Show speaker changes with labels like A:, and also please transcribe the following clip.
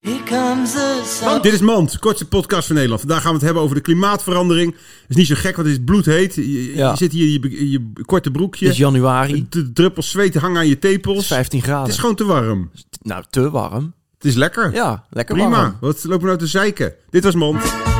A: Here comes the sun.
B: Dit is Mand, kortste podcast van Nederland. Vandaag gaan we het hebben over de klimaatverandering. Het is niet zo gek, want het is bloedheet. Je, je
C: Ja.
B: zit hier in je, be- in je korte broekje.
C: Het is januari,
B: de druppels zweet hangen aan je
C: het is
B: tepels.
C: 15
B: Het
C: graden.
B: is gewoon te warm.
C: Nou, te warm.
B: Het is lekker.
C: Ja, lekker
B: Prima.
C: warm.
B: Wat lopen we nou te zeiken? Dit was Mand.